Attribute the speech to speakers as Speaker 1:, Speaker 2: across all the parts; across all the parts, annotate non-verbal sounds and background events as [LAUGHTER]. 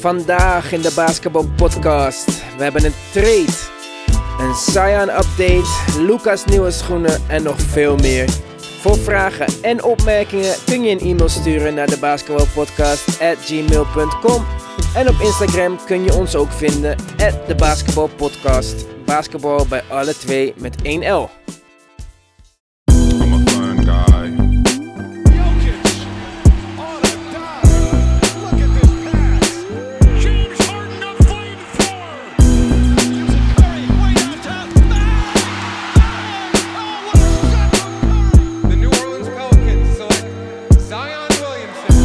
Speaker 1: Vandaag in de Basketball Podcast. We hebben een trade, een Saiyan update, Lucas nieuwe schoenen en nog veel meer. Voor vragen en opmerkingen kun je een e-mail sturen naar de basketbalpodcast at gmail.com. En op Instagram kun je ons ook vinden at de basketbalpodcast. Basketbal bij alle twee met 1 L.
Speaker 2: I'm a fun guy.
Speaker 3: Jokic on a dive. Look at this pass. James Harden a flamethrower. Using Curry way on top. Bang! Oh, what a shot from Curry!
Speaker 4: The New Orleans Pelicans select Zion Williamson.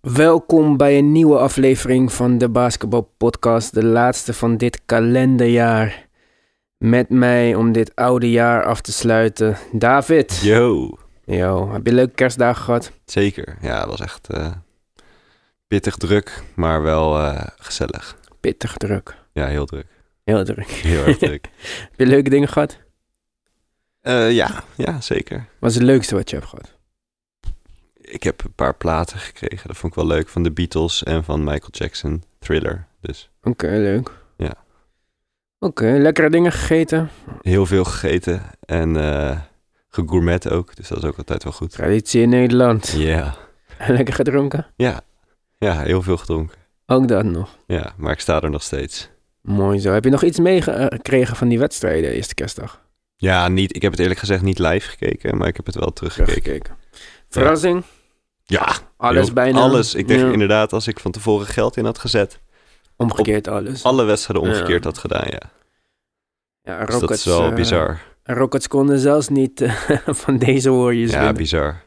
Speaker 1: Welkom bij een nieuwe aflevering van de Basketbal Podcast, de laatste van dit kalenderjaar. Met mij om dit oude jaar af te sluiten, David.
Speaker 5: [LAUGHS] Yo,
Speaker 1: Yo, heb je leuke kerstdagen gehad?
Speaker 5: zeker. Ja, het was echt eh, pittig druk, maar wel eh, gezellig.
Speaker 1: Pittig druk.
Speaker 5: Ja, heel druk. [LAUGHS]
Speaker 1: Heel druk.
Speaker 5: Heel erg druk.
Speaker 1: Heb je leuke dingen gehad?
Speaker 5: Eh, ja, ja, zeker.
Speaker 1: Wat is het leukste wat je hebt gehad?
Speaker 5: Ik heb een paar platen gekregen. Dat vond ik wel leuk. Van de Beatles en van Michael Jackson. Thriller. Dus
Speaker 1: Oké, leuk.
Speaker 5: Ja.
Speaker 1: Oké, lekkere dingen gegeten.
Speaker 5: heel veel gegeten en eh gegourmet ook. Dus dat is ook altijd wel goed.
Speaker 1: Traditie in Nederland.
Speaker 5: Ja,
Speaker 1: [LAUGHS] Lekker gedronken.
Speaker 5: ja, heel veel gedronken.
Speaker 1: Ook dat nog.
Speaker 5: Ja, maar ik sta er nog steeds.
Speaker 1: Mooi zo. Heb je nog iets meegekregen van die wedstrijden eerste kerstdag?
Speaker 5: Ja, niet, ik heb het eerlijk gezegd niet live gekeken, maar ik heb het wel teruggekeken.
Speaker 1: Gekeken. Verrassing.
Speaker 5: Ja,
Speaker 1: Alles
Speaker 5: heel-
Speaker 1: bijna.
Speaker 5: Alles. Ik denk
Speaker 1: Ja.
Speaker 5: inderdaad, als ik van tevoren geld in had gezet,
Speaker 1: Omgekeerd alles.
Speaker 5: alle wedstrijden omgekeerd
Speaker 1: Ja.
Speaker 5: had gedaan, ja.
Speaker 1: Ja,
Speaker 5: Dus dat is wel
Speaker 1: eh,
Speaker 5: bizar.
Speaker 1: Rockets konden zelfs niet eh, [LAUGHS] van deze Warriors
Speaker 5: Ja,
Speaker 1: winnen.
Speaker 5: bizar.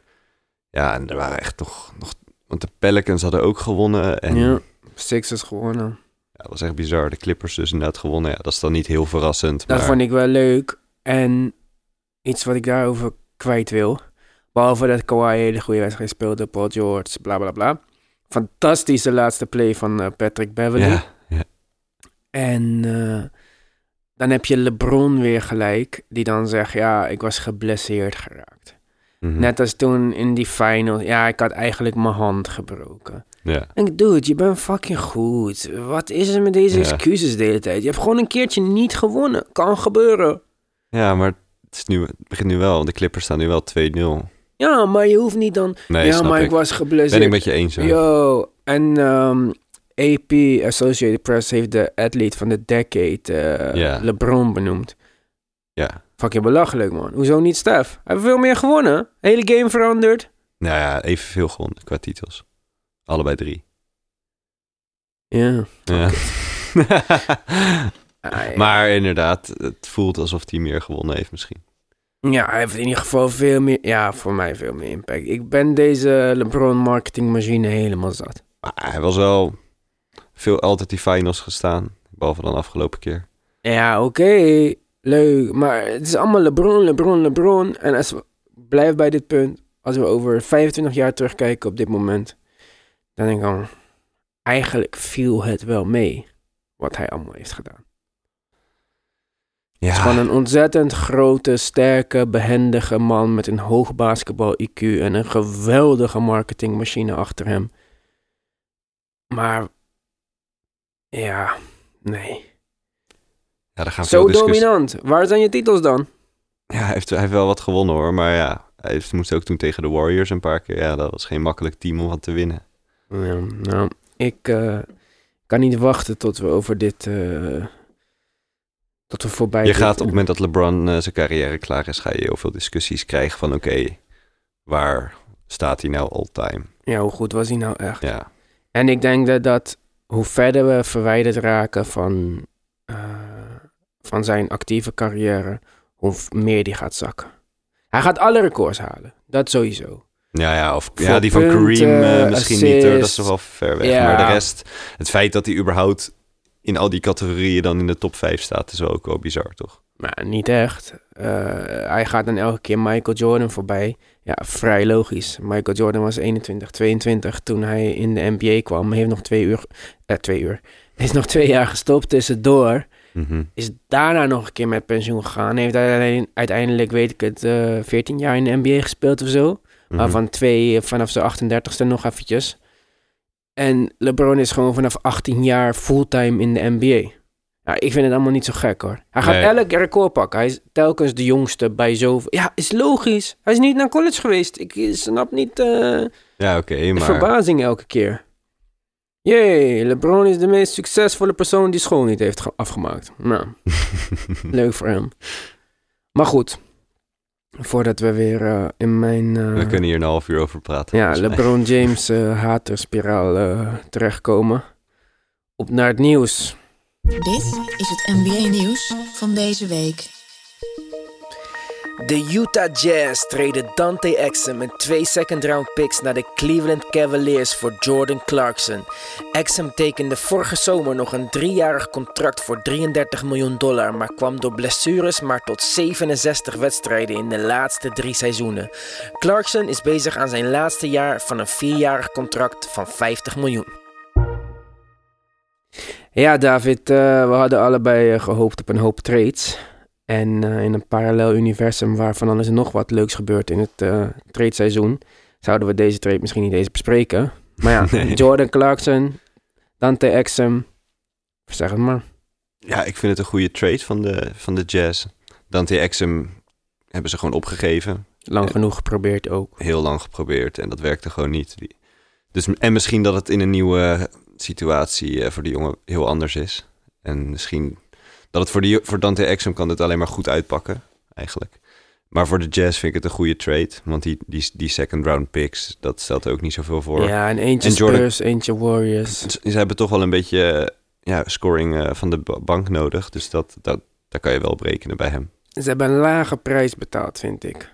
Speaker 5: Ja, en er waren echt nog, nog... Want de Pelicans hadden ook gewonnen. En ja.
Speaker 1: Ja, Sixers gewonnen.
Speaker 5: dat was echt bizar. De Clippers dus inderdaad gewonnen. Ja, dat is dan niet heel verrassend.
Speaker 1: Dat
Speaker 5: maar
Speaker 1: vond ik wel leuk. En iets wat ik daarover kwijt wil. Behalve dat Kawhi een hele goede wedstrijd speelde, Paul George, bla bla bla. Fantastische laatste play van eh, Patrick Beverly.
Speaker 5: ja, ja,
Speaker 1: En eh, dan heb je LeBron weer gelijk, die dan zegt: Ja, ik was geblesseerd geraakt.
Speaker 5: mhm.
Speaker 1: Net als toen in die finals. Ja, ik had eigenlijk mijn hand gebroken.
Speaker 5: ja.
Speaker 1: Ik denk, dude, je bent fucking goed. Wat is er met deze
Speaker 5: Ja.
Speaker 1: excuses de hele tijd? Je hebt gewoon een keertje niet gewonnen. Kan gebeuren.
Speaker 5: ja, maar het, is nu, het begint nu wel. De Clippers staan nu wel 2-0.
Speaker 1: Ja, maar je hoeft niet dan...
Speaker 5: Nee,
Speaker 1: ja,
Speaker 5: snap
Speaker 1: maar ik,
Speaker 5: ik.
Speaker 1: was geblesseerd.
Speaker 5: Ben ik met je eens, hoor.
Speaker 1: Yo, en ehm, AP, Associated Press, heeft de athlete van de decade, eh,
Speaker 5: Ja.
Speaker 1: LeBron, benoemd.
Speaker 5: Ja.
Speaker 1: Fucking belachelijk, man. Hoezo niet Stef? Hij heeft veel meer gewonnen. Hele game veranderd.
Speaker 5: Nou ja, evenveel gewonnen qua titels. Allebei drie.
Speaker 1: Ja.
Speaker 5: Ja. [LAUGHS]
Speaker 1: Ah, ja.
Speaker 5: maar inderdaad, het voelt alsof hij meer gewonnen heeft misschien.
Speaker 1: Ja, hij heeft in ieder geval veel meer... Ja, voor mij veel meer impact. Ik ben deze LeBron-marketingmachine helemaal zat.
Speaker 5: Maar hij was wel veel altijd die finals gestaan. Behalve dan afgelopen keer.
Speaker 1: Ja, oké. Leuk. Maar het is allemaal LeBron, LeBron, LeBron. En als we blijven bij dit punt, als we over 25 jaar terugkijken op dit moment, dan denk ik al, eigenlijk viel het wel mee wat hij allemaal heeft gedaan. Het is
Speaker 5: Ja,
Speaker 1: gewoon een ontzettend grote, sterke, behendige man met een hoog basketbal-IQ en een geweldige marketingmachine achter hem. Maar, ja, nee.
Speaker 5: ja daar gaan
Speaker 1: Zo
Speaker 5: veel discussies.
Speaker 1: dominant. Waar zijn je titels dan?
Speaker 5: Ja, hij heeft, hij heeft wel wat gewonnen hoor. Maar ja, hij heeft, moest ook toen tegen de Warriors een paar keer. Ja, dat was geen makkelijk team om wat te winnen.
Speaker 1: Ja, nou, ik eh, kan niet wachten tot we over dit. eh, tot we voorbij.
Speaker 5: Je
Speaker 1: dit-
Speaker 5: gaat op het moment dat LeBron eh, zijn carrière klaar is, ga je heel veel discussies krijgen van oké, waar staat hij nou all-time?
Speaker 1: Ja, hoe goed was hij nou echt?
Speaker 5: Ja,
Speaker 1: En ik denk dat, dat hoe verder we verwijderd raken van. eh, van zijn actieve carrière, hoe v- meer die gaat zakken. Hij gaat alle records halen. Dat sowieso.
Speaker 5: ja, ja of
Speaker 1: Voor
Speaker 5: ja, die van Kareem
Speaker 1: punten,
Speaker 5: eh, misschien niet hoor. Dat is
Speaker 1: assist.
Speaker 5: toch wel ver weg.
Speaker 1: Ja.
Speaker 5: Maar de rest, het feit dat hij überhaupt in al die categorieën dan in de top 5 staat, is wel ook wel bizar toch?
Speaker 1: Maar niet echt. Eh, hij gaat dan elke keer Michael Jordan voorbij. Ja, vrij logisch. Michael Jordan was 21, 22 toen hij in de NBA kwam. Hij heeft nog twee uur... Eh, twee uur. Hij is nog twee jaar gestopt tussendoor.
Speaker 5: Mhm.
Speaker 1: Is daarna nog een keer met pensioen gegaan. Heeft uiteindelijk, uiteindelijk weet ik het, eh 14 jaar in de NBA gespeeld of zo.
Speaker 5: Mhm.
Speaker 1: Waarvan twee eh, vanaf zijn 38ste nog eventjes. En LeBron is gewoon vanaf 18 jaar fulltime in de NBA. Ja, Nou, ik vind het allemaal niet zo gek hoor. Hij gaat
Speaker 5: Nee.
Speaker 1: elk record pakken. Hij is telkens de jongste bij zoveel. Ja, is logisch. Hij is niet naar college geweest. Ik snap niet eh,
Speaker 5: Ja, oké,
Speaker 1: de
Speaker 5: maar...
Speaker 1: verbazing elke keer. Jee, LeBron is de meest succesvolle persoon die school niet heeft ge- afgemaakt. Nou, leuk voor hem. Maar goed, voordat we weer eh, in mijn... eh,
Speaker 5: [LAUGHS] We kunnen hier een half uur over praten.
Speaker 1: ja,
Speaker 5: volgens mij.
Speaker 1: LeBron James eh haterspiraal eh, terechtkomen. Op naar het nieuws.
Speaker 6: Dit is het NBA-nieuws van deze week.
Speaker 1: De Utah Jazz treden Dante Exum met twee second round picks naar de Cleveland Cavaliers voor Jordan Clarkson. Exum tekende vorige zomer nog een driejarig contract voor 33 miljoen dollar, maar kwam door blessures maar tot 67 wedstrijden in de laatste drie seizoenen. Clarkson is bezig aan zijn laatste jaar van een vierjarig contract van 50 miljoen. Ja, David, eh, we hadden allebei eh, gehoopt op een hoop trades. En eh, in een parallel universum waar van alles en nog wat leuks gebeurt in het eh trade seizoen, zouden we deze trade misschien niet eens bespreken. Maar [LAUGHS] ja,
Speaker 5: [LAUGHS] Nee.
Speaker 1: Jordan Clarkson, Dante Exum, zeg het maar.
Speaker 5: Ja, ik vind het een goede trade van de, van de Jazz. Dante Exum hebben ze gewoon opgegeven.
Speaker 1: Lang
Speaker 5: Ja.
Speaker 1: genoeg geprobeerd ook.
Speaker 5: Heel lang geprobeerd en dat werkte gewoon niet. Die- Dus, en misschien dat het in een nieuwe situatie eh, voor die jongen heel anders is. En misschien dat het voor, die, voor Dante Exum kan dit alleen maar goed uitpakken, eigenlijk. Maar voor de Jazz vind ik het een goede trade. Want die, die, die second round picks, dat stelt ook niet zoveel voor.
Speaker 1: Ja, en eentje
Speaker 5: En Jordan-
Speaker 1: Spurs, eentje Warriors.
Speaker 5: Ze ze hebben toch wel een beetje eh, ja, scoring eh, van de ba- bank nodig. Dus dat, dat, daar kan je wel op rekenen bij hem.
Speaker 1: Ze hebben een lage prijs betaald, vind ik.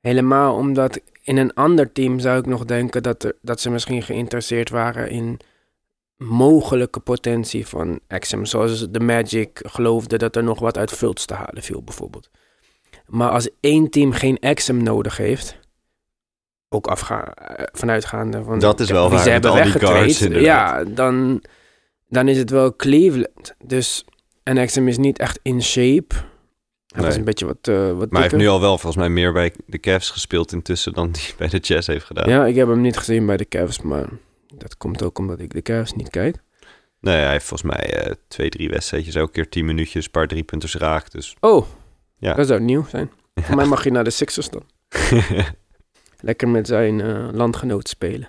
Speaker 1: Helemaal omdat in een ander team zou ik nog denken dat, er, dat ze misschien geïnteresseerd waren in mogelijke potentie van Exum. Zoals de Magic geloofde dat er nog wat uit Vults te halen viel, bijvoorbeeld. Maar als één team geen Exum nodig heeft, ook afga- eh, vanuitgaande van
Speaker 5: Dat is wel
Speaker 1: wie
Speaker 5: waar,
Speaker 1: ze
Speaker 5: met
Speaker 1: hebben
Speaker 5: al die
Speaker 1: weggetraind,
Speaker 5: guards inderdaad.
Speaker 1: ja, dan, dan is het wel Cleveland. Dus, en Exum is niet echt in shape. Hij was
Speaker 5: Nee.
Speaker 1: een beetje wat, eh wat
Speaker 5: Maar hij heeft
Speaker 1: dikker.
Speaker 5: nu al wel volgens mij meer bij de Cavs gespeeld intussen dan die bij de Jazz heeft gedaan.
Speaker 1: Ja, ik heb hem niet gezien bij de Cavs, maar dat komt ook omdat ik de Cavs niet kijk.
Speaker 5: Nee, hij heeft volgens mij eh, twee, drie wedstrijdjes, elke keer tien minuutjes, een paar driepunters
Speaker 1: [LAUGHS]
Speaker 5: raakt. Dus
Speaker 1: Oh,
Speaker 5: Ja.
Speaker 1: dat zou nieuw
Speaker 5: [LAUGHS]
Speaker 1: zijn. Voor mij mag je naar de Sixers dan. Lekker met zijn eh, landgenoot spelen.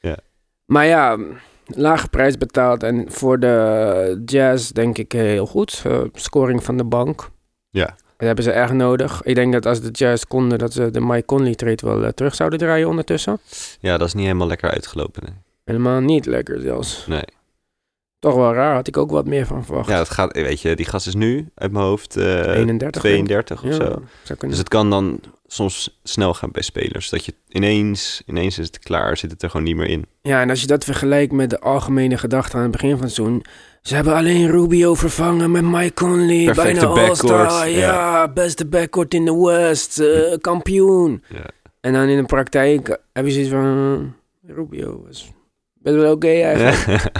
Speaker 5: Ja.
Speaker 1: Maar ja, lage prijs betaald en voor de Jazz denk ik heel goed. Eh, scoring van de bank.
Speaker 5: Ja.
Speaker 1: Dat hebben ze echt nodig. Ik denk dat als de Jazz konden, dat ze de Mike Conley trade wel eh, terug zouden draaien ondertussen.
Speaker 5: ja, dat is niet helemaal lekker uitgelopen. nee.
Speaker 1: Helemaal niet lekker zelfs.
Speaker 5: Nee.
Speaker 1: Toch wel raar, had ik ook wat meer van verwacht.
Speaker 5: Ja, dat gaat, eh, weet je, die gast is nu uit mijn hoofd eh,
Speaker 1: 31,
Speaker 5: 32 of
Speaker 1: Ja,
Speaker 5: zo.
Speaker 1: zou
Speaker 5: Dus
Speaker 1: kunnen.
Speaker 5: het kan dan soms snel gaan bij spelers. Dat je ineens, ineens is het klaar, zit het er gewoon niet meer in.
Speaker 1: Ja, en als je dat vergelijkt met de algemene gedachte aan het begin van het seizoen. Ze hebben alleen Rubio vervangen met Mike Conley.
Speaker 5: Perfecte
Speaker 1: bijna
Speaker 5: backcourt,
Speaker 1: All-Star. Ja.
Speaker 5: ja.
Speaker 1: beste backcourt in de West. eh, kampioen.
Speaker 5: Ja.
Speaker 1: En dan in de praktijk heb je zoiets van... eh, Rubio is best wel oké eigenlijk.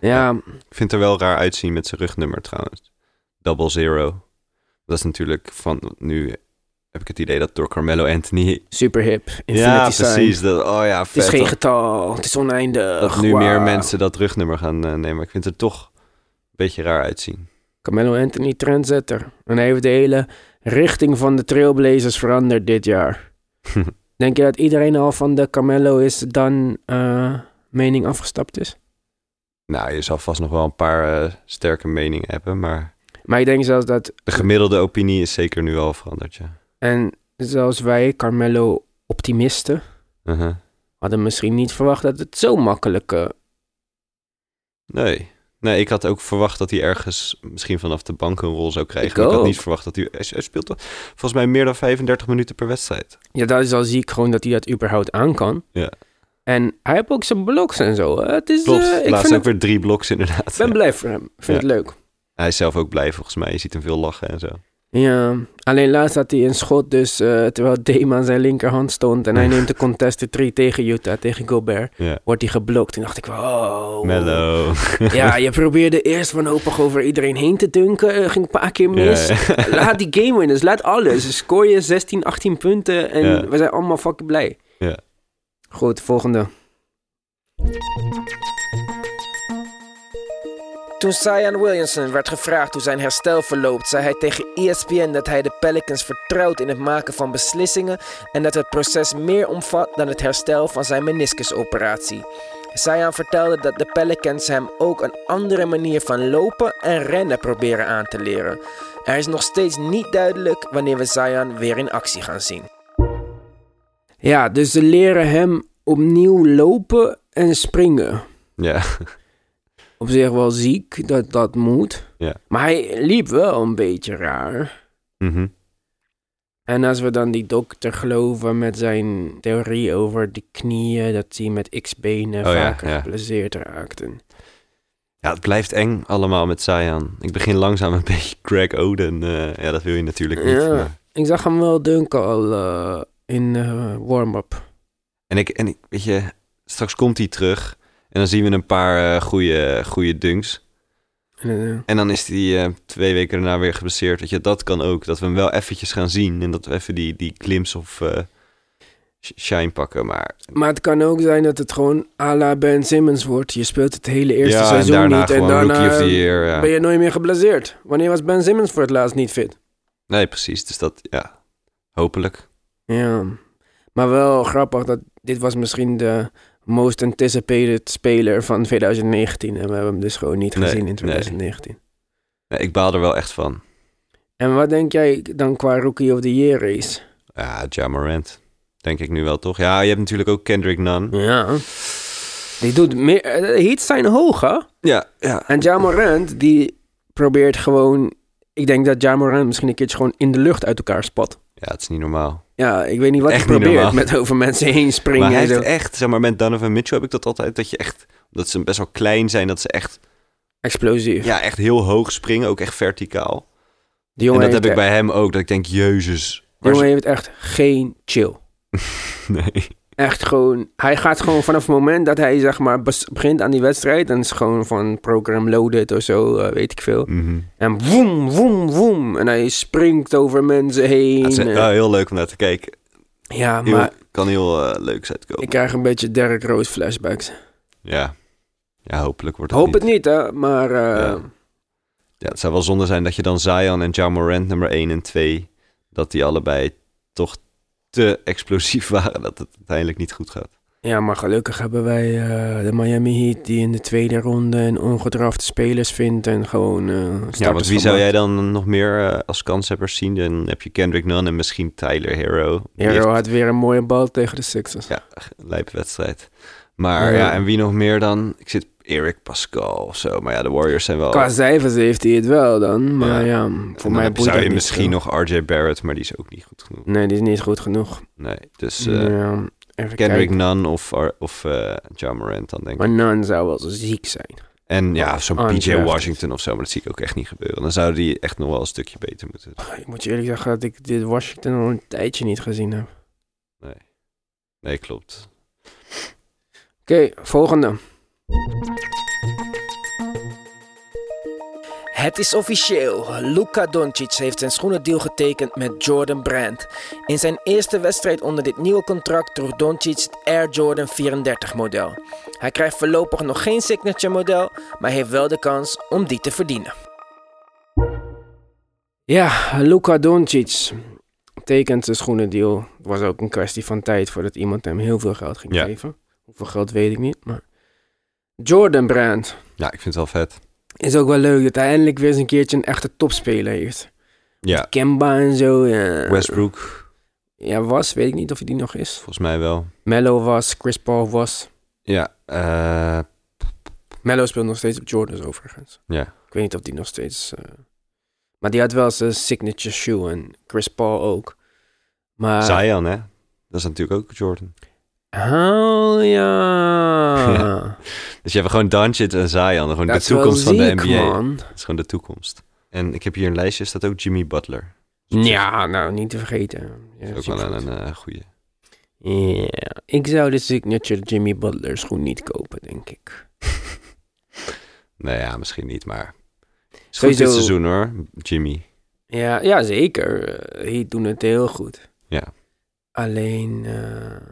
Speaker 1: Ja,
Speaker 5: [LAUGHS] Ik vind het er wel raar uitzien met zijn rugnummer trouwens. Double zero. Dat is natuurlijk van nu heb ik het idee dat door Carmelo Anthony.
Speaker 1: super hip.
Speaker 5: ja,
Speaker 1: Infinity sign.
Speaker 5: precies. Dat, oh ja,
Speaker 1: Het
Speaker 5: vet.
Speaker 1: is geen
Speaker 5: dat,
Speaker 1: getal. Het is oneindig.
Speaker 5: dat nu
Speaker 1: Wauw.
Speaker 5: meer mensen dat rugnummer gaan eh, nemen. Ik vind het er toch een beetje raar uitzien. [LAUGHS]
Speaker 1: Carmelo Anthony trendsetter. En hij heeft de hele richting van de Trailblazers veranderd dit jaar. Denk je dat iedereen al van de Carmelo is dan eh, mening afgestapt is?
Speaker 5: nou, je zal vast nog wel een paar eh, sterke meningen hebben, maar
Speaker 1: Maar ik denk zelfs dat,
Speaker 5: de gemiddelde opinie is zeker nu al veranderd, ja.
Speaker 1: en zelfs wij Carmelo optimisten,
Speaker 5: Uh-huh.
Speaker 1: hadden misschien niet verwacht dat het zo makkelijk... eh,
Speaker 5: Nee. Nee, ik had ook verwacht dat hij ergens misschien vanaf de bank een rol zou krijgen.
Speaker 1: Ik
Speaker 5: Maar had
Speaker 1: ook.
Speaker 5: niet verwacht dat hij... Hij hij speelt toch volgens mij meer dan 35 minuten per wedstrijd.
Speaker 1: ja, dat is al ziek gewoon dat hij dat überhaupt aan kan.
Speaker 5: Ja.
Speaker 1: En hij heeft ook zijn bloks en zo. hè. Het is,
Speaker 5: Klopt,
Speaker 1: eh, ik
Speaker 5: laatst
Speaker 1: vind het,
Speaker 5: ook weer drie bloks inderdaad.
Speaker 1: ben blij voor hem. Ik vind
Speaker 5: Ja.
Speaker 1: het leuk.
Speaker 5: Hij is zelf ook blij volgens mij. Je ziet hem veel lachen en zo.
Speaker 1: Ja, alleen laatst had hij een schot dus, eh, terwijl Dame aan zijn linkerhand stond. En hij neemt de contested 3 tegen Utah, tegen Gobert.
Speaker 5: Ja.
Speaker 1: Wordt hij geblokt. Toen dacht ik, wow.
Speaker 5: Mellow.
Speaker 1: Ja, je probeerde eerst wanhopig over iedereen heen te dunken. eh, ging een paar keer mis.
Speaker 5: Ja.
Speaker 1: [LAUGHS]
Speaker 5: [LAUGHS]
Speaker 1: Laat die game winners, laat alles. Scoor je 16, 18 punten en
Speaker 5: Ja.
Speaker 1: we zijn allemaal fucking blij.
Speaker 5: Ja.
Speaker 1: Goed, volgende. Toen Zion Williamson werd gevraagd hoe zijn herstel verloopt, zei hij tegen E ESPN dat hij de Pelicans vertrouwt in het maken van beslissingen en dat het proces meer omvat dan het herstel van zijn meniscusoperatie. Zion vertelde dat de Pelicans hem ook een andere manier van lopen en rennen proberen aan te leren. Er is nog steeds niet duidelijk wanneer we Zion weer in actie gaan zien. Ja, dus ze leren hem opnieuw lopen en springen.
Speaker 5: ja.
Speaker 1: Op zich wel ziek dat dat moet.
Speaker 5: Ja.
Speaker 1: Maar hij liep wel een beetje raar.
Speaker 5: Mhm.
Speaker 1: En als we dan die dokter geloven met zijn theorie over de knieën, dat hij met x-benen
Speaker 5: Oh ja,
Speaker 1: vaker
Speaker 5: ja.
Speaker 1: geblesseerd raakten.
Speaker 5: Ja, het blijft eng allemaal met Zion. Ik begin langzaam een [LAUGHS] beetje Greg Oden. eh, ja, dat wil je natuurlijk niet.
Speaker 1: Ja.
Speaker 5: maar-
Speaker 1: Ik zag hem wel dunken al eh, in eh, warm-up.
Speaker 5: En, ik, en ik, weet je, straks komt hij terug. En dan zien we een paar eh goede, goede dunks.
Speaker 1: En, eh,
Speaker 5: En dan is hij eh, twee weken daarna weer geblesseerd. Weet je, dat kan ook. Dat we hem wel eventjes gaan zien. En dat we even die, die glimps of eh, sh- shine pakken. Maar
Speaker 1: Maar het kan ook zijn dat het gewoon à la Ben Simmons wordt. Je speelt het hele eerste
Speaker 5: ja, en
Speaker 1: seizoen
Speaker 5: daarna
Speaker 1: niet. En
Speaker 5: gewoon
Speaker 1: daarna eh,
Speaker 5: rookie of the year. ja.
Speaker 1: ben je nooit meer geblesseerd. Wanneer was Ben Simmons voor het laatst niet fit?
Speaker 5: Nee, precies. Dus dat, ja, hopelijk.
Speaker 1: Ja. Maar wel grappig dat dit was misschien de most anticipated speler van 2019. En we hebben hem dus gewoon niet
Speaker 5: Nee,
Speaker 1: gezien in
Speaker 5: nee.
Speaker 1: 2019.
Speaker 5: Nee, ik baal er wel echt van.
Speaker 1: En wat denk jij dan qua Rookie of the Year race?
Speaker 5: Ja, Ja Morant. Denk ik nu wel, toch? Ja, je hebt natuurlijk ook Kendrick Nunn.
Speaker 1: Ja. Die doet meer... eh, De hits zijn hoog, hè?
Speaker 5: Ja, ja.
Speaker 1: En Ja Morant, die probeert gewoon... Ik denk dat Ja Morant misschien een keertje gewoon in de lucht uit elkaar spat.
Speaker 5: Ja, het is niet normaal.
Speaker 1: Ja, ik weet niet wat
Speaker 5: Echt
Speaker 1: hij
Speaker 5: niet
Speaker 1: probeert
Speaker 5: normaal.
Speaker 1: met over mensen heen springen
Speaker 5: Maar hij
Speaker 1: en zo.
Speaker 5: heeft echt, zeg maar, met Donovan Mitchell heb ik dat altijd, dat je echt, dat ze best wel klein zijn, dat ze echt,
Speaker 1: Explosief.
Speaker 5: ja, echt heel hoog springen, ook echt verticaal.
Speaker 1: Die jongen,
Speaker 5: en dat
Speaker 1: heeft,
Speaker 5: heb ik
Speaker 1: e-
Speaker 5: bij hem ook, dat ik denk, jezus.
Speaker 1: die
Speaker 5: waar
Speaker 1: jongen heeft echt geen chill.
Speaker 5: is- [LAUGHS] nee.
Speaker 1: Echt gewoon... Hij gaat gewoon vanaf het moment dat hij zeg maar bes- begint aan die wedstrijd... en is gewoon van program loaded of zo, eh, weet ik veel.
Speaker 5: Mhm.
Speaker 1: En woem, woem, woem. En hij springt over mensen heen.
Speaker 5: Ja, het is
Speaker 1: eh.
Speaker 5: wel heel leuk om naar te kijken.
Speaker 1: ja,
Speaker 5: Heel-
Speaker 1: maar
Speaker 5: kan heel eh, leuk uitkomen.
Speaker 1: ik krijg een beetje Derrick Rose flashbacks.
Speaker 5: Ja. Ja, hopelijk wordt het
Speaker 1: Hoop
Speaker 5: niet.
Speaker 1: het niet, hè. Maar eh,
Speaker 5: Ja. Ja, het zou wel zonde zijn dat je dan Zion en Ja Morant nummer 1 en 2... dat die allebei toch te explosief [LAUGHS] waren... dat het uiteindelijk niet goed gaat.
Speaker 1: Ja, maar gelukkig hebben wij eh, de Miami Heat die in de tweede ronde een ongedrafte spelers vindt en gewoon eh
Speaker 5: Ja, want
Speaker 1: starters
Speaker 5: wie zou jij
Speaker 1: gemaakt.
Speaker 5: dan nog meer eh, als kanshebbers zien? Dan heb je Kendrick Nunn en misschien Tyler Hero. Die
Speaker 1: Hero
Speaker 5: heeft
Speaker 1: had weer een mooie bal tegen de Sixers.
Speaker 5: Ja. een lijpe wedstrijd. Maar
Speaker 1: Ja.
Speaker 5: ja. en wie nog meer dan? Ik zit Eric Pascal of zo. Maar ja, de Warriors zijn wel...
Speaker 1: Qua cijfers heeft hij het wel dan, maar ja,
Speaker 5: Ja.
Speaker 1: voor
Speaker 5: En dan
Speaker 1: mij
Speaker 5: heb-
Speaker 1: boeit dat
Speaker 5: zou je
Speaker 1: niet
Speaker 5: misschien
Speaker 1: veel.
Speaker 5: nog RJ Barrett, maar die is ook niet goed genoeg.
Speaker 1: Nee, die is niet goed genoeg.
Speaker 5: Nee, dus eh,
Speaker 1: Ja, even
Speaker 5: Kendrick
Speaker 1: kijken.
Speaker 5: Nunn of, Ar- of eh, Ja Morant dan denk ik.
Speaker 1: Maar Nan zou wel zo ziek zijn.
Speaker 5: En
Speaker 1: Oh,
Speaker 5: ja, zo'n PJ
Speaker 1: Undrafted.
Speaker 5: Washington of zo, maar dat zie ik ook echt niet gebeuren. Dan zou die echt nog wel een stukje beter moeten.
Speaker 1: Ik moet je eerlijk zeggen dat ik dit Washington al een tijdje niet gezien heb.
Speaker 5: Nee, klopt.
Speaker 1: Oké, volgende.
Speaker 7: Het is officieel. Luka Doncic heeft zijn schoenendeal getekend met Jordan Brand. In zijn eerste wedstrijd onder dit nieuwe contract droeg Doncic het Air Jordan 34 model. Hij krijgt voorlopig nog geen signature model, maar heeft wel de kans om die te verdienen.
Speaker 1: Ja, Luka Doncic tekent zijn schoenendeal. Het was ook een kwestie van tijd voordat iemand hem heel veel geld ging
Speaker 5: Ja.
Speaker 1: geven. Hoeveel geld weet ik niet, maar... Jordan Brand
Speaker 5: Ja, ik vind het wel vet.
Speaker 1: is ook wel leuk dat hij eindelijk weer eens een keertje een echte topspeler heeft.
Speaker 5: Ja,
Speaker 1: Kemba en zo. Ja.
Speaker 5: Westbrook,
Speaker 1: Ja, was. Weet ik niet of hij die nog is.
Speaker 5: volgens mij wel.
Speaker 1: Mello was, Chris Paul was.
Speaker 5: Ja, eh,
Speaker 1: Mello speelt nog steeds op Jordans overigens.
Speaker 5: ja.
Speaker 1: Ik weet niet of die nog steeds... eh, Maar die had wel zijn signature shoe en Chris Paul ook. Maar...
Speaker 5: Zion, hè? Dat is natuurlijk ook Jordan.
Speaker 1: Oh
Speaker 5: [LAUGHS]
Speaker 1: ja.
Speaker 5: Dus je hebt gewoon Doncic en Zion. Gewoon
Speaker 1: Dat
Speaker 5: de
Speaker 1: is wel
Speaker 5: toekomst van de
Speaker 1: ziek,
Speaker 5: NBA.
Speaker 1: man.
Speaker 5: Dat is gewoon de toekomst. En ik heb hier een lijstje, staat ook Jimmy Butler.
Speaker 1: Ja, nou, niet te vergeten. Ja,
Speaker 5: Is ook wel een eh, goeie.
Speaker 1: Ja, ik zou de signature Jimmy Butler schoen niet kopen, denk ik.
Speaker 5: Nou ja, misschien niet, maar... Het is goed
Speaker 1: Sowieso-
Speaker 5: dit seizoen hoor, Jimmy.
Speaker 1: Ja, ja zeker. Eh, Die doen het heel goed.
Speaker 5: Ja.
Speaker 1: Alleen, eh, het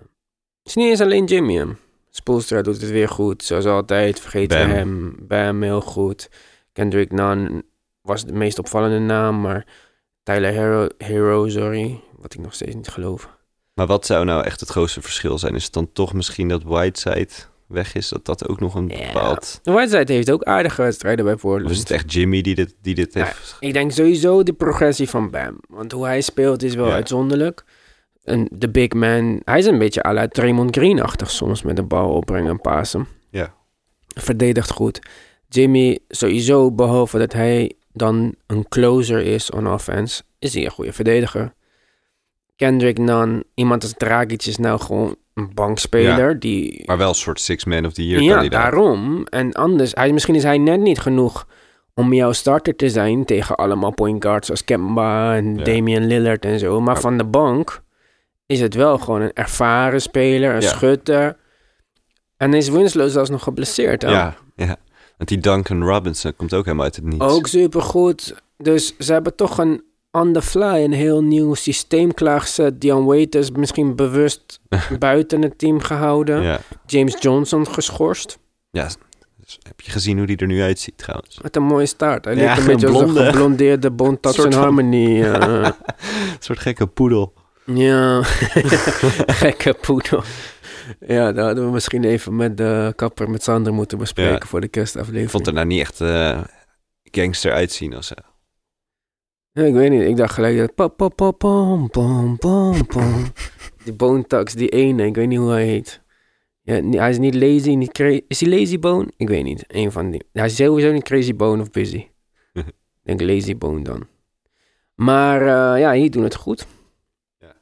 Speaker 1: is niet eens alleen Jimmy hem. Spoelstra doet het weer goed, zoals altijd. Vergeten
Speaker 5: Bam.
Speaker 1: hem. Bam heel goed. Kendrick Nunn was de meest opvallende naam, maar Tyler Hero, Hero sorry, wat ik nog steeds niet geloof.
Speaker 5: Maar wat zou nou echt het grootste verschil zijn? Is het dan toch misschien dat Whiteside weg is? Dat dat ook nog een
Speaker 1: Ja.
Speaker 5: bepaald...
Speaker 1: De Whiteside heeft ook aardige wedstrijden bij
Speaker 5: Of
Speaker 1: Portland.
Speaker 5: is het echt Jimmy die dit, die dit
Speaker 1: Nou,
Speaker 5: heeft...
Speaker 1: Ik denk sowieso de progressie van Bam. Want hoe hij speelt is wel
Speaker 5: Ja.
Speaker 1: uitzonderlijk. En de big man, hij is een beetje à la Draymond Green-achtig soms met de bal opbrengen en pasen.
Speaker 5: Ja.
Speaker 1: Verdedigt goed. Jimmy sowieso, behalve dat hij dan een closer is on offense, is hij een goede verdediger. Kendrick Nunn, iemand als Dragic is nou gewoon een bankspeler die
Speaker 5: Maar wel een soort six man of the year
Speaker 1: ja,
Speaker 5: kandidaat.
Speaker 1: daarom. En anders, hij, misschien is hij net niet genoeg om jouw starter te zijn tegen allemaal point guards als Kemba en
Speaker 5: Ja.
Speaker 1: Damian Lillard en zo. Maar
Speaker 5: Ja.
Speaker 1: van de bank is het wel gewoon een ervaren speler, een
Speaker 5: Ja.
Speaker 1: schutter. En is Winslow zelfs nog geblesseerd. hè?
Speaker 5: Ja, ja. Want die Duncan Robinson komt ook helemaal uit het niets.
Speaker 1: Ook supergoed. Dus ze hebben toch een on the fly een heel nieuw systeem klaargezet. Dion Waiters misschien
Speaker 5: [LAUGHS]
Speaker 1: bewust buiten het team gehouden.
Speaker 5: Ja.
Speaker 1: James Johnson geschorst.
Speaker 5: ja. Dus heb je gezien hoe die er nu uitziet trouwens?
Speaker 1: Wat een mooie staart. Hij
Speaker 5: Ja,
Speaker 1: leek een beetje
Speaker 5: een
Speaker 1: als een
Speaker 5: blonde.
Speaker 1: geblondeerde Bon Tax
Speaker 5: Soort
Speaker 1: en
Speaker 5: van.
Speaker 1: Harmony.
Speaker 5: [LAUGHS]
Speaker 1: eh.
Speaker 5: Een soort gekke poedel. [LAUGHS]
Speaker 1: ja, gekke poedel. Ja, dat hadden we misschien even met de kapper, met Sander moeten bespreken
Speaker 5: Ja.
Speaker 1: voor de
Speaker 5: Ik vond
Speaker 1: kerstaflevering.
Speaker 5: er nou niet echt eh, gangster uitzien eh, of zo.
Speaker 1: Ja, ik weet niet, ik dacht gelijk... dat pa, pa, pa, pom, pom, pom, pom. Die Bone Tax, die ene, ik weet niet hoe hij heet. Ja, ni- hij is niet lazy, niet crazy. Is hij lazy bone? Ik weet niet, een van die. Hij is sowieso niet crazy bone of busy. ik denk lazy bone dan. Maar eh, ja, hier doen het goed.
Speaker 5: Ja.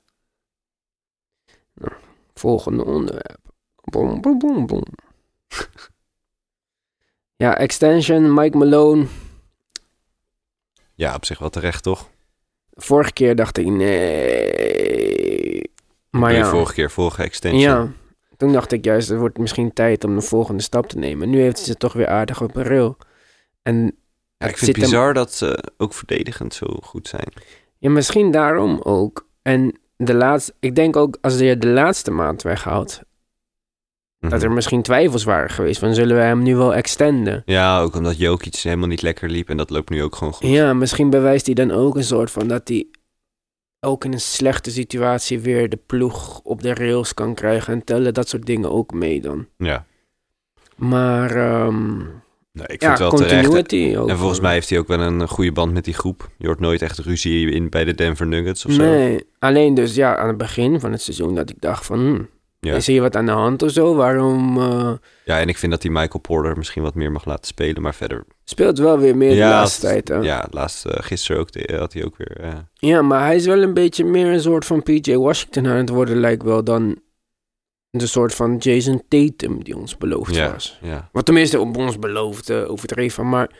Speaker 1: Nou, volgende onderwerp. Boom, boom, boom, boom. ja, extension, Mike Malone.
Speaker 5: Ja, op zich wel terecht toch?
Speaker 1: Vorige keer dacht ik, nee. Maar
Speaker 5: Nee,
Speaker 1: ja,
Speaker 5: Vorige keer, vorige extension.
Speaker 1: ja, toen dacht ik juist, het wordt misschien tijd om de volgende stap te nemen. Nu heeft ze het toch weer aardig op een rail. En
Speaker 5: Ja, ik
Speaker 1: het
Speaker 5: vind het
Speaker 1: zit hem-
Speaker 5: bizar dat ze ook verdedigend zo goed zijn.
Speaker 1: ja, misschien daarom ook. En de laatste, ik denk ook als je de laatste maand weghaalt, dat er
Speaker 5: Mhm.
Speaker 1: misschien twijfels waren geweest van zullen we hem nu wel extenden?
Speaker 5: Ja, ook omdat Jokic helemaal niet lekker liep en dat loopt nu ook gewoon goed.
Speaker 1: Ja, misschien bewijst hij dan ook een soort van dat hij ook in een slechte situatie weer de ploeg op de rails kan krijgen en tellen dat soort dingen ook mee dan.
Speaker 5: Ja.
Speaker 1: Maar ehm
Speaker 5: Nou, ik vind
Speaker 1: ja,
Speaker 5: het wel terecht.
Speaker 1: continuity ook.
Speaker 5: En volgens mij heeft hij ook wel een eh, goede band met die groep. Je hoort nooit echt ruzie in bij de Denver Nuggets of zo.
Speaker 1: Nee, alleen dus ja, aan het begin van het seizoen dat ik dacht van... hm,
Speaker 5: Ja.
Speaker 1: Is hier wat aan de hand of zo? Waarom... eh,
Speaker 5: Ja, en ik vind dat die Michael Porter misschien wat meer mag laten spelen, maar verder...
Speaker 1: speelt wel weer meer
Speaker 5: ja,
Speaker 1: de laatste
Speaker 5: het-
Speaker 1: tijd, hè?
Speaker 5: Ja, laatst, eh, gisteren ook, de- had hij ook weer... eh,
Speaker 1: Ja, maar hij is wel een beetje meer een soort van PJ Washington aan het worden, lijkt wel, dan de soort van Jason Tatum die ons beloofd
Speaker 5: Ja.
Speaker 1: was.
Speaker 5: ja.
Speaker 1: Wat tenminste op ons beloofd eh, overdreven, maar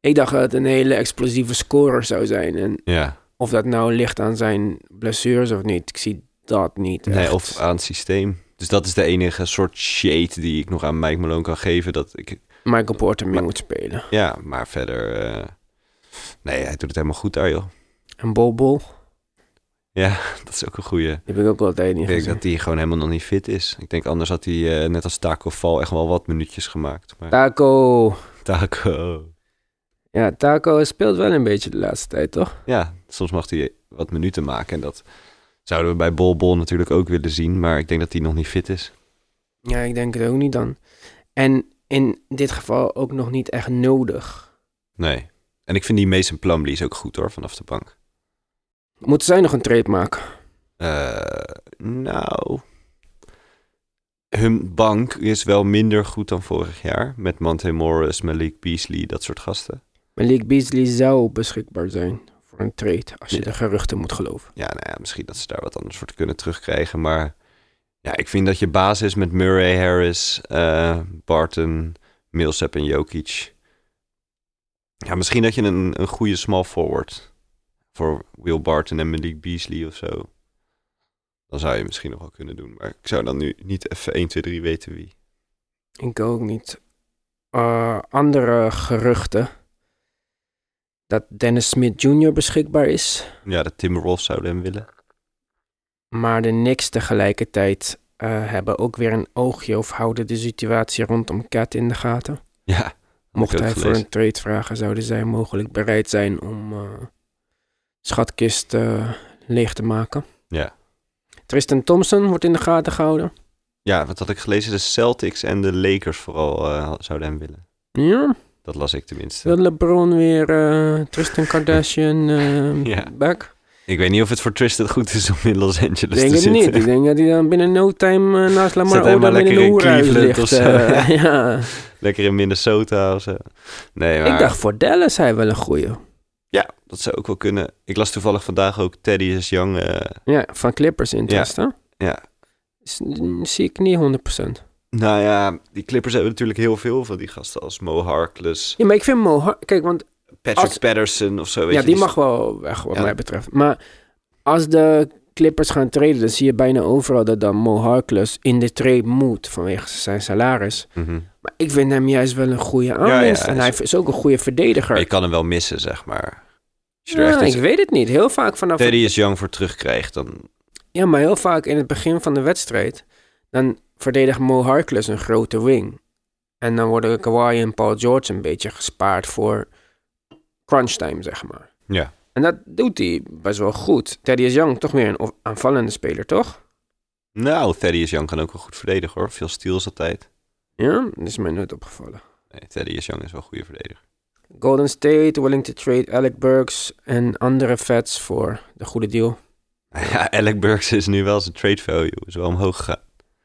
Speaker 1: ik dacht dat het een hele explosieve scorer zou zijn. En
Speaker 5: ja.
Speaker 1: of dat nou ligt aan zijn blessures of niet, ik zie dat niet
Speaker 5: Nee,
Speaker 1: echt.
Speaker 5: of eh, aan het systeem. Dus dat is de enige soort shade die ik nog aan Mike Malone kan geven. Dat ik,
Speaker 1: Michael Porter mee
Speaker 5: Maar-
Speaker 1: moet spelen.
Speaker 5: ja, maar verder... eh, nee, hij doet het helemaal goed daar, joh. [LAUGHS]
Speaker 1: En Bobo,
Speaker 5: Ja, dat is ook een goede.
Speaker 1: die heb ik ook altijd niet
Speaker 5: Ik denk
Speaker 1: gezien.
Speaker 5: dat hij gewoon helemaal nog niet fit is. Ik denk anders had hij eh, net als Taco Val echt wel wat minuutjes gemaakt. Maar
Speaker 1: Taco.
Speaker 5: Taco...
Speaker 1: Ja, Taco speelt wel een beetje de laatste tijd, toch?
Speaker 5: Ja, soms mag hij wat minuten maken. En dat zouden we bij Bol Bol natuurlijk ook willen zien. Maar ik denk dat hij nog niet fit is.
Speaker 1: Ja, ik denk het ook niet dan. En in dit geval ook nog niet echt nodig.
Speaker 5: Nee. En ik vind die Mason Plumlee is ook goed hoor, vanaf de bank.
Speaker 1: Moeten zij nog een trade maken?
Speaker 5: Eh, nou... Hun bank is wel minder goed dan vorig jaar. Met Monte Morris, Malik Beasley, dat soort gasten.
Speaker 1: Malik Beasley zou beschikbaar zijn voor een trade, als je
Speaker 5: Ja.
Speaker 1: de geruchten moet geloven.
Speaker 5: Ja, nou ja, misschien dat ze daar wat anders voor te kunnen terugkrijgen. Maar ja, ik vind dat je basis met Murray, Harris, eh, Barton, Millsap en Jokic. Ja, misschien dat je een, een goede small forward voor Will Barton en Malik Beasley of zo. Dan zou je misschien nog wel kunnen doen. Maar ik zou dan nu niet even 1, 2, 3 weten wie.
Speaker 1: Ik ook niet. Eh, andere geruchten. Dat Dennis Smith Jr. beschikbaar is.
Speaker 5: Ja, de Timberwolves zouden hem willen.
Speaker 1: Maar de Knicks tegelijkertijd eh, hebben ook weer een oogje of houden de situatie rondom Cat in de gaten.
Speaker 5: Ja. had ik
Speaker 1: Mocht
Speaker 5: ook
Speaker 1: hij voor
Speaker 5: gelezen.
Speaker 1: een trade vragen, zouden zij mogelijk bereid zijn om eh, schatkist eh, leeg te maken.
Speaker 5: Ja.
Speaker 1: Tristan Thompson wordt in de gaten gehouden.
Speaker 5: Ja, wat had ik gelezen? De Celtics en de Lakers vooral eh, zouden hem willen.
Speaker 1: Ja,
Speaker 5: Dat las ik tenminste.
Speaker 1: wil LeBron weer eh, Tristan Kardashian eh
Speaker 5: [LAUGHS] Ja.
Speaker 1: back?
Speaker 5: Ik weet niet of het voor Tristan goed is om in Los
Speaker 1: Ik
Speaker 5: Angeles
Speaker 1: denk
Speaker 5: te
Speaker 1: het
Speaker 5: zitten. [LAUGHS]
Speaker 1: niet. Ik denk dat hij dan binnen no time eh, naast
Speaker 5: Zet
Speaker 1: Lamar
Speaker 5: hij maar
Speaker 1: Odom in
Speaker 5: lekker
Speaker 1: een
Speaker 5: in
Speaker 1: hoerhuis
Speaker 5: Cleveland
Speaker 1: ligt.
Speaker 5: of zo. [LAUGHS]
Speaker 1: eh, [LAUGHS] ja.
Speaker 5: Lekker in Minnesota of zo. Nee, maar
Speaker 1: Ik dacht voor Dallas hij wel een goeie.
Speaker 5: ja, dat zou ook wel kunnen. Ik las toevallig vandaag ook Teddy is Young. eh,
Speaker 1: Ja, van Clippers in
Speaker 5: Ja.
Speaker 1: test, hè?
Speaker 5: Ja.
Speaker 1: Is- mm, zie ik niet 100%.
Speaker 5: nou ja, die Clippers hebben natuurlijk heel veel van die gasten als Mo Harkless,
Speaker 1: Ja, maar ik vind Mo... Har- Kijk, want
Speaker 5: Patrick
Speaker 1: Als-
Speaker 5: Patterson of zo. Weet
Speaker 1: ja,
Speaker 5: je,
Speaker 1: die mag wel weg, wat
Speaker 5: Ja.
Speaker 1: mij betreft. Maar als de Clippers gaan traden, dan zie je bijna overal dat dan Mo Harkless in de trade moet vanwege zijn salaris.
Speaker 5: Mhm.
Speaker 1: Maar ik vind hem juist wel een goede
Speaker 5: ja,
Speaker 1: aanwinst.
Speaker 5: hij
Speaker 1: en
Speaker 5: is-
Speaker 1: hij is ook een goede verdediger.
Speaker 5: Maar je kan hem wel missen, zeg maar. Als je er
Speaker 1: ja,
Speaker 5: echt
Speaker 1: ik
Speaker 5: iets-
Speaker 1: weet het niet. Heel vaak vanaf...
Speaker 5: Teddy is Young voor terugkrijgt, dan...
Speaker 1: Ja, maar heel vaak in het begin van de wedstrijd, dan verdedigt Mo Harkless een grote wing. En dan worden Kawhi en Paul George een beetje gespaard voor crunchtime, zeg maar.
Speaker 5: Ja.
Speaker 1: En dat doet hij best wel goed. Teddy is Young toch meer een of- aanvallende speler, toch?
Speaker 5: Nou, Teddy is Young kan ook wel goed verdedigen, hoor. Veel steals altijd.
Speaker 1: Ja, dat is mij nooit opgevallen.
Speaker 5: Nee, Teddy is Young is wel een goede verdediger. [LAUGHS]
Speaker 1: Golden State willing to trade Alec Burks en andere vets voor de goede deal.
Speaker 5: Ja, Alec Burks is nu wel zijn trade value. Is wel omhoog gegaan.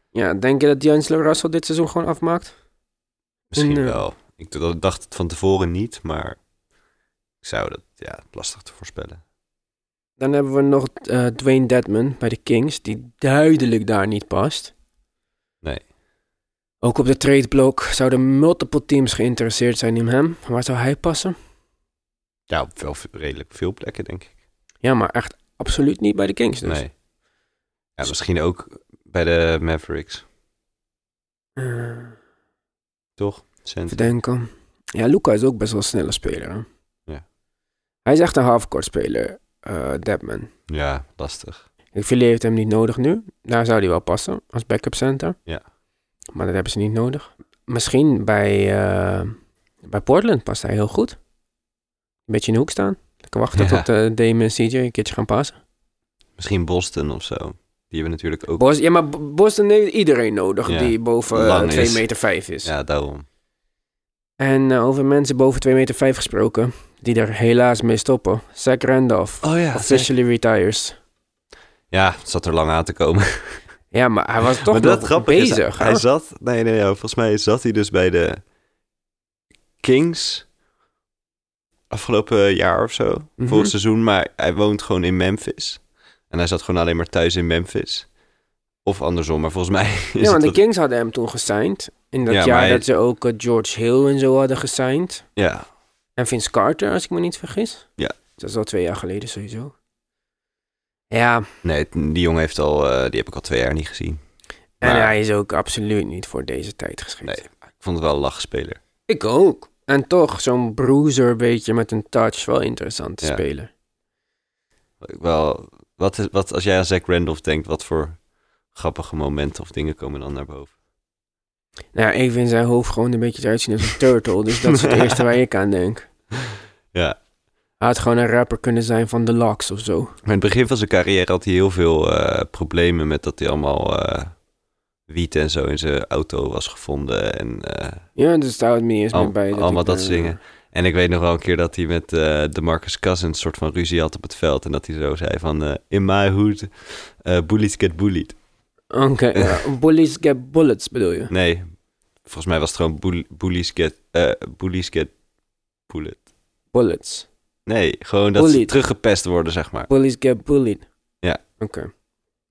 Speaker 1: Ja, denk je dat D'Angelo Russell dit seizoen gewoon afmaakt?
Speaker 5: Misschien
Speaker 1: Nee.
Speaker 5: wel. Ik d- dacht het van tevoren niet, maar... Ik zou dat... Ja, lastig te voorspellen.
Speaker 1: Dan hebben we nog eh, Dwayne Dedman bij de Kings, die duidelijk daar niet past.
Speaker 5: Nee.
Speaker 1: Ook op de tradeblok zouden multiple teams geïnteresseerd zijn in hem. Waar zou hij passen?
Speaker 5: Ja, op wel v- redelijk veel plekken, denk ik.
Speaker 1: Ja, maar echt absoluut niet bij de Kings dus.
Speaker 5: Nee. Ja, misschien ook bij de Mavericks,
Speaker 1: Eh,
Speaker 5: toch? Center.
Speaker 1: even denken. Ja, Luca is ook best wel een snelle speler. hè?
Speaker 5: Ja.
Speaker 1: Hij is echt een halfcourt speler, eh Dedman.
Speaker 5: Ja, lastig.
Speaker 1: Ik vind, heeft hem niet nodig nu. Daar zou hij wel passen als backup center.
Speaker 5: Ja.
Speaker 1: Maar dat hebben ze niet nodig. Misschien bij, eh, bij Portland past hij heel goed. Een beetje in de hoek staan. Lekker wachten
Speaker 5: Ja.
Speaker 1: tot eh Dame en CJ een keertje gaan passen.
Speaker 5: Misschien Boston of zo. Die hebben natuurlijk ook...
Speaker 1: Bos, ja, maar B- Boston heeft iedereen nodig
Speaker 5: Ja.
Speaker 1: die boven
Speaker 5: Lang
Speaker 1: 2
Speaker 5: is.
Speaker 1: meter 5 is.
Speaker 5: Ja, daarom.
Speaker 1: En eh, over mensen boven 2 meter 5 gesproken, die er helaas mee stoppen. Zach Randolph,
Speaker 5: Oh ja,
Speaker 1: officially retires.
Speaker 5: Ja, het zat er lang aan te komen.
Speaker 1: Ja, maar hij was toch
Speaker 5: [LAUGHS] maar dat
Speaker 1: nog
Speaker 5: grappig is,
Speaker 1: bezig.
Speaker 5: hij,
Speaker 1: hè?
Speaker 5: zat... Nee, nee, ja, volgens mij zat hij dus bij de Kings afgelopen jaar of zo.
Speaker 1: Mhm.
Speaker 5: Vorig seizoen, maar hij woont gewoon in Memphis. En hij zat gewoon alleen maar thuis in Memphis. Of andersom, maar volgens mij [LAUGHS] is
Speaker 1: ja,
Speaker 5: het...
Speaker 1: want de
Speaker 5: dat-
Speaker 1: Kings hadden hem toen gesigned. In dat
Speaker 5: Ja,
Speaker 1: jaar
Speaker 5: maar hij-
Speaker 1: dat ze ook eh, George Hill en zo hadden gesigned.
Speaker 5: Ja,
Speaker 1: En Vince Carter, als ik me niet vergis.
Speaker 5: Ja.
Speaker 1: Dat is al twee jaar geleden sowieso. Ja,
Speaker 5: nee, het- die jongen heeft al... eh, die heb ik al twee jaar niet gezien.
Speaker 1: en
Speaker 5: Maar-
Speaker 1: hij is ook absoluut niet voor deze tijd geschikt.
Speaker 5: Nee. Ik vond het wel een lachspeler.
Speaker 1: Ik ook. En toch, zo'n bruiser beetje met een touch, wel interessant te
Speaker 5: Ja.
Speaker 1: spelen.
Speaker 5: Wel, wat, is, wat als jij aan Zach Randolph denkt, wat voor grappige momenten of dingen komen dan naar boven?
Speaker 1: Nou, ja, ik vind zijn hoofd gewoon een beetje eruit zien als een turtle. Dus dat is het
Speaker 5: [LAUGHS]
Speaker 1: eerste waar ik aan denk.
Speaker 5: Ja.
Speaker 1: Hij had gewoon een rapper kunnen zijn van The Locks of zo.
Speaker 5: Maar in het begin van zijn carrière had hij heel veel eh, problemen met dat hij allemaal eh, wiet en zo in zijn auto was gevonden en eh,
Speaker 1: Ja, dus daar houdt me niet eens
Speaker 5: al-
Speaker 1: meer bij.
Speaker 5: allemaal
Speaker 1: ik eh,
Speaker 5: dat
Speaker 1: me-
Speaker 5: soort dingen. En ik weet nog wel een keer dat hij met eh de Marcus Cousins soort van ruzie had op het veld en dat hij zo zei van eh, in my hood eh bullies get bullied.
Speaker 1: Oké, ja, bullies get bullets bedoel je?
Speaker 5: Nee, volgens mij was het gewoon boel- bullies get eh bullies get bullet.
Speaker 1: Bullets.
Speaker 5: Nee, gewoon dat ze
Speaker 1: Bullied.
Speaker 5: teruggepest worden zeg maar.
Speaker 1: Bullies get bullied.
Speaker 5: Ja.
Speaker 1: Oké.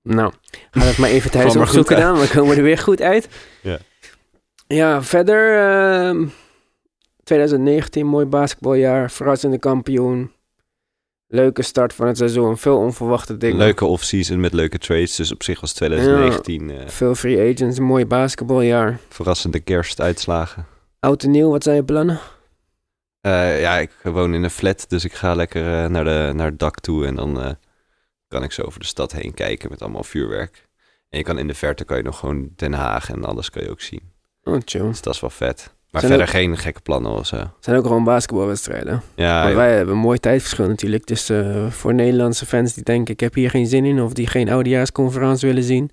Speaker 1: Nou, ga dat maar even thuis
Speaker 5: Kwam er goed
Speaker 1: opzoeken
Speaker 5: uit.
Speaker 1: dan. We komen er weer goed uit.
Speaker 5: Ja.
Speaker 1: Ja, verder... ehm, 2019, mooi basketbaljaar. Verrassende kampioen. Leuke start van het seizoen. Veel onverwachte dingen.
Speaker 5: Leuke off-season met leuke trades. Dus op zich was 2019 eh,
Speaker 1: Veel free agents. Een mooi basketbaljaar.
Speaker 5: verrassende kerstuitslagen.
Speaker 1: Oud en nieuw, wat zijn je plannen?
Speaker 5: Eh, ja, ik woon in een flat, dus ik ga lekker eh, naar, de, naar het dak toe. En dan eh, kan ik zo over de stad heen kijken met allemaal vuurwerk. En je kan in de verte kan je nog gewoon Den Haag en alles kan je ook zien.
Speaker 1: Oh, chill.
Speaker 5: Dus dat is wel vet. Maar
Speaker 1: Zijn
Speaker 5: verder geen gekke plannen of zo.
Speaker 1: Het zijn ook gewoon basketbalwedstrijden.
Speaker 5: Ah, Ja,
Speaker 1: maar
Speaker 5: joh.
Speaker 1: wij hebben een mooi tijdverschil natuurlijk. Dus eh, voor Nederlandse fans die denken, ik heb hier geen zin in... of die geen oudejaarsconferentie willen zien...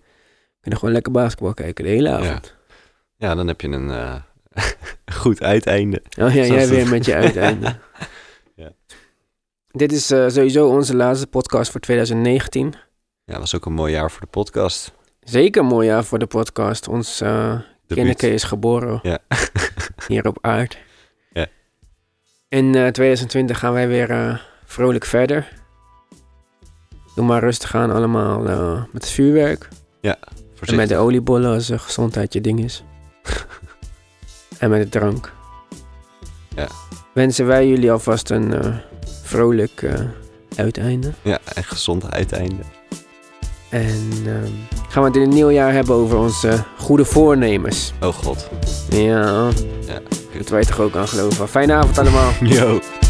Speaker 1: kunnen gewoon lekker basketbal kijken de hele avond.
Speaker 5: ja dan heb je een eh, [LAUGHS] goed uiteinde.
Speaker 1: Oh ja,
Speaker 5: Zo
Speaker 1: jij
Speaker 5: is
Speaker 1: weer
Speaker 5: het. [LAUGHS]
Speaker 1: met je uiteinde.
Speaker 5: Ja.
Speaker 1: Dit is eh, sowieso onze laatste podcast voor 2019.
Speaker 5: Ja, was ook een mooi jaar voor de podcast.
Speaker 1: Zeker een mooi jaar voor de podcast. Ons eh kindje
Speaker 5: Debuut.
Speaker 1: is geboren
Speaker 5: Ja. [LAUGHS]
Speaker 1: hier op aard.
Speaker 5: Ja.
Speaker 1: In eh, 2020 gaan wij weer eh, vrolijk verder. Doe maar rustig aan allemaal eh, met het vuurwerk. En met
Speaker 5: Voorzichtig.
Speaker 1: de oliebollen als eh, gezondheid je ding
Speaker 5: [LAUGHS]
Speaker 1: is. en met de drank.
Speaker 5: Ja.
Speaker 1: Wensen wij jullie alvast een eh, vrolijk eh, uiteinde.
Speaker 5: Ja, en gezond uiteinde.
Speaker 1: En ehm, gaan we het in het nieuwe jaar hebben over onze eh, goede voornemens.
Speaker 5: Oh god.
Speaker 1: Ja,
Speaker 5: Ja.
Speaker 1: dat wij toch ook aan geloven. Fijne avond allemaal.
Speaker 5: Yo.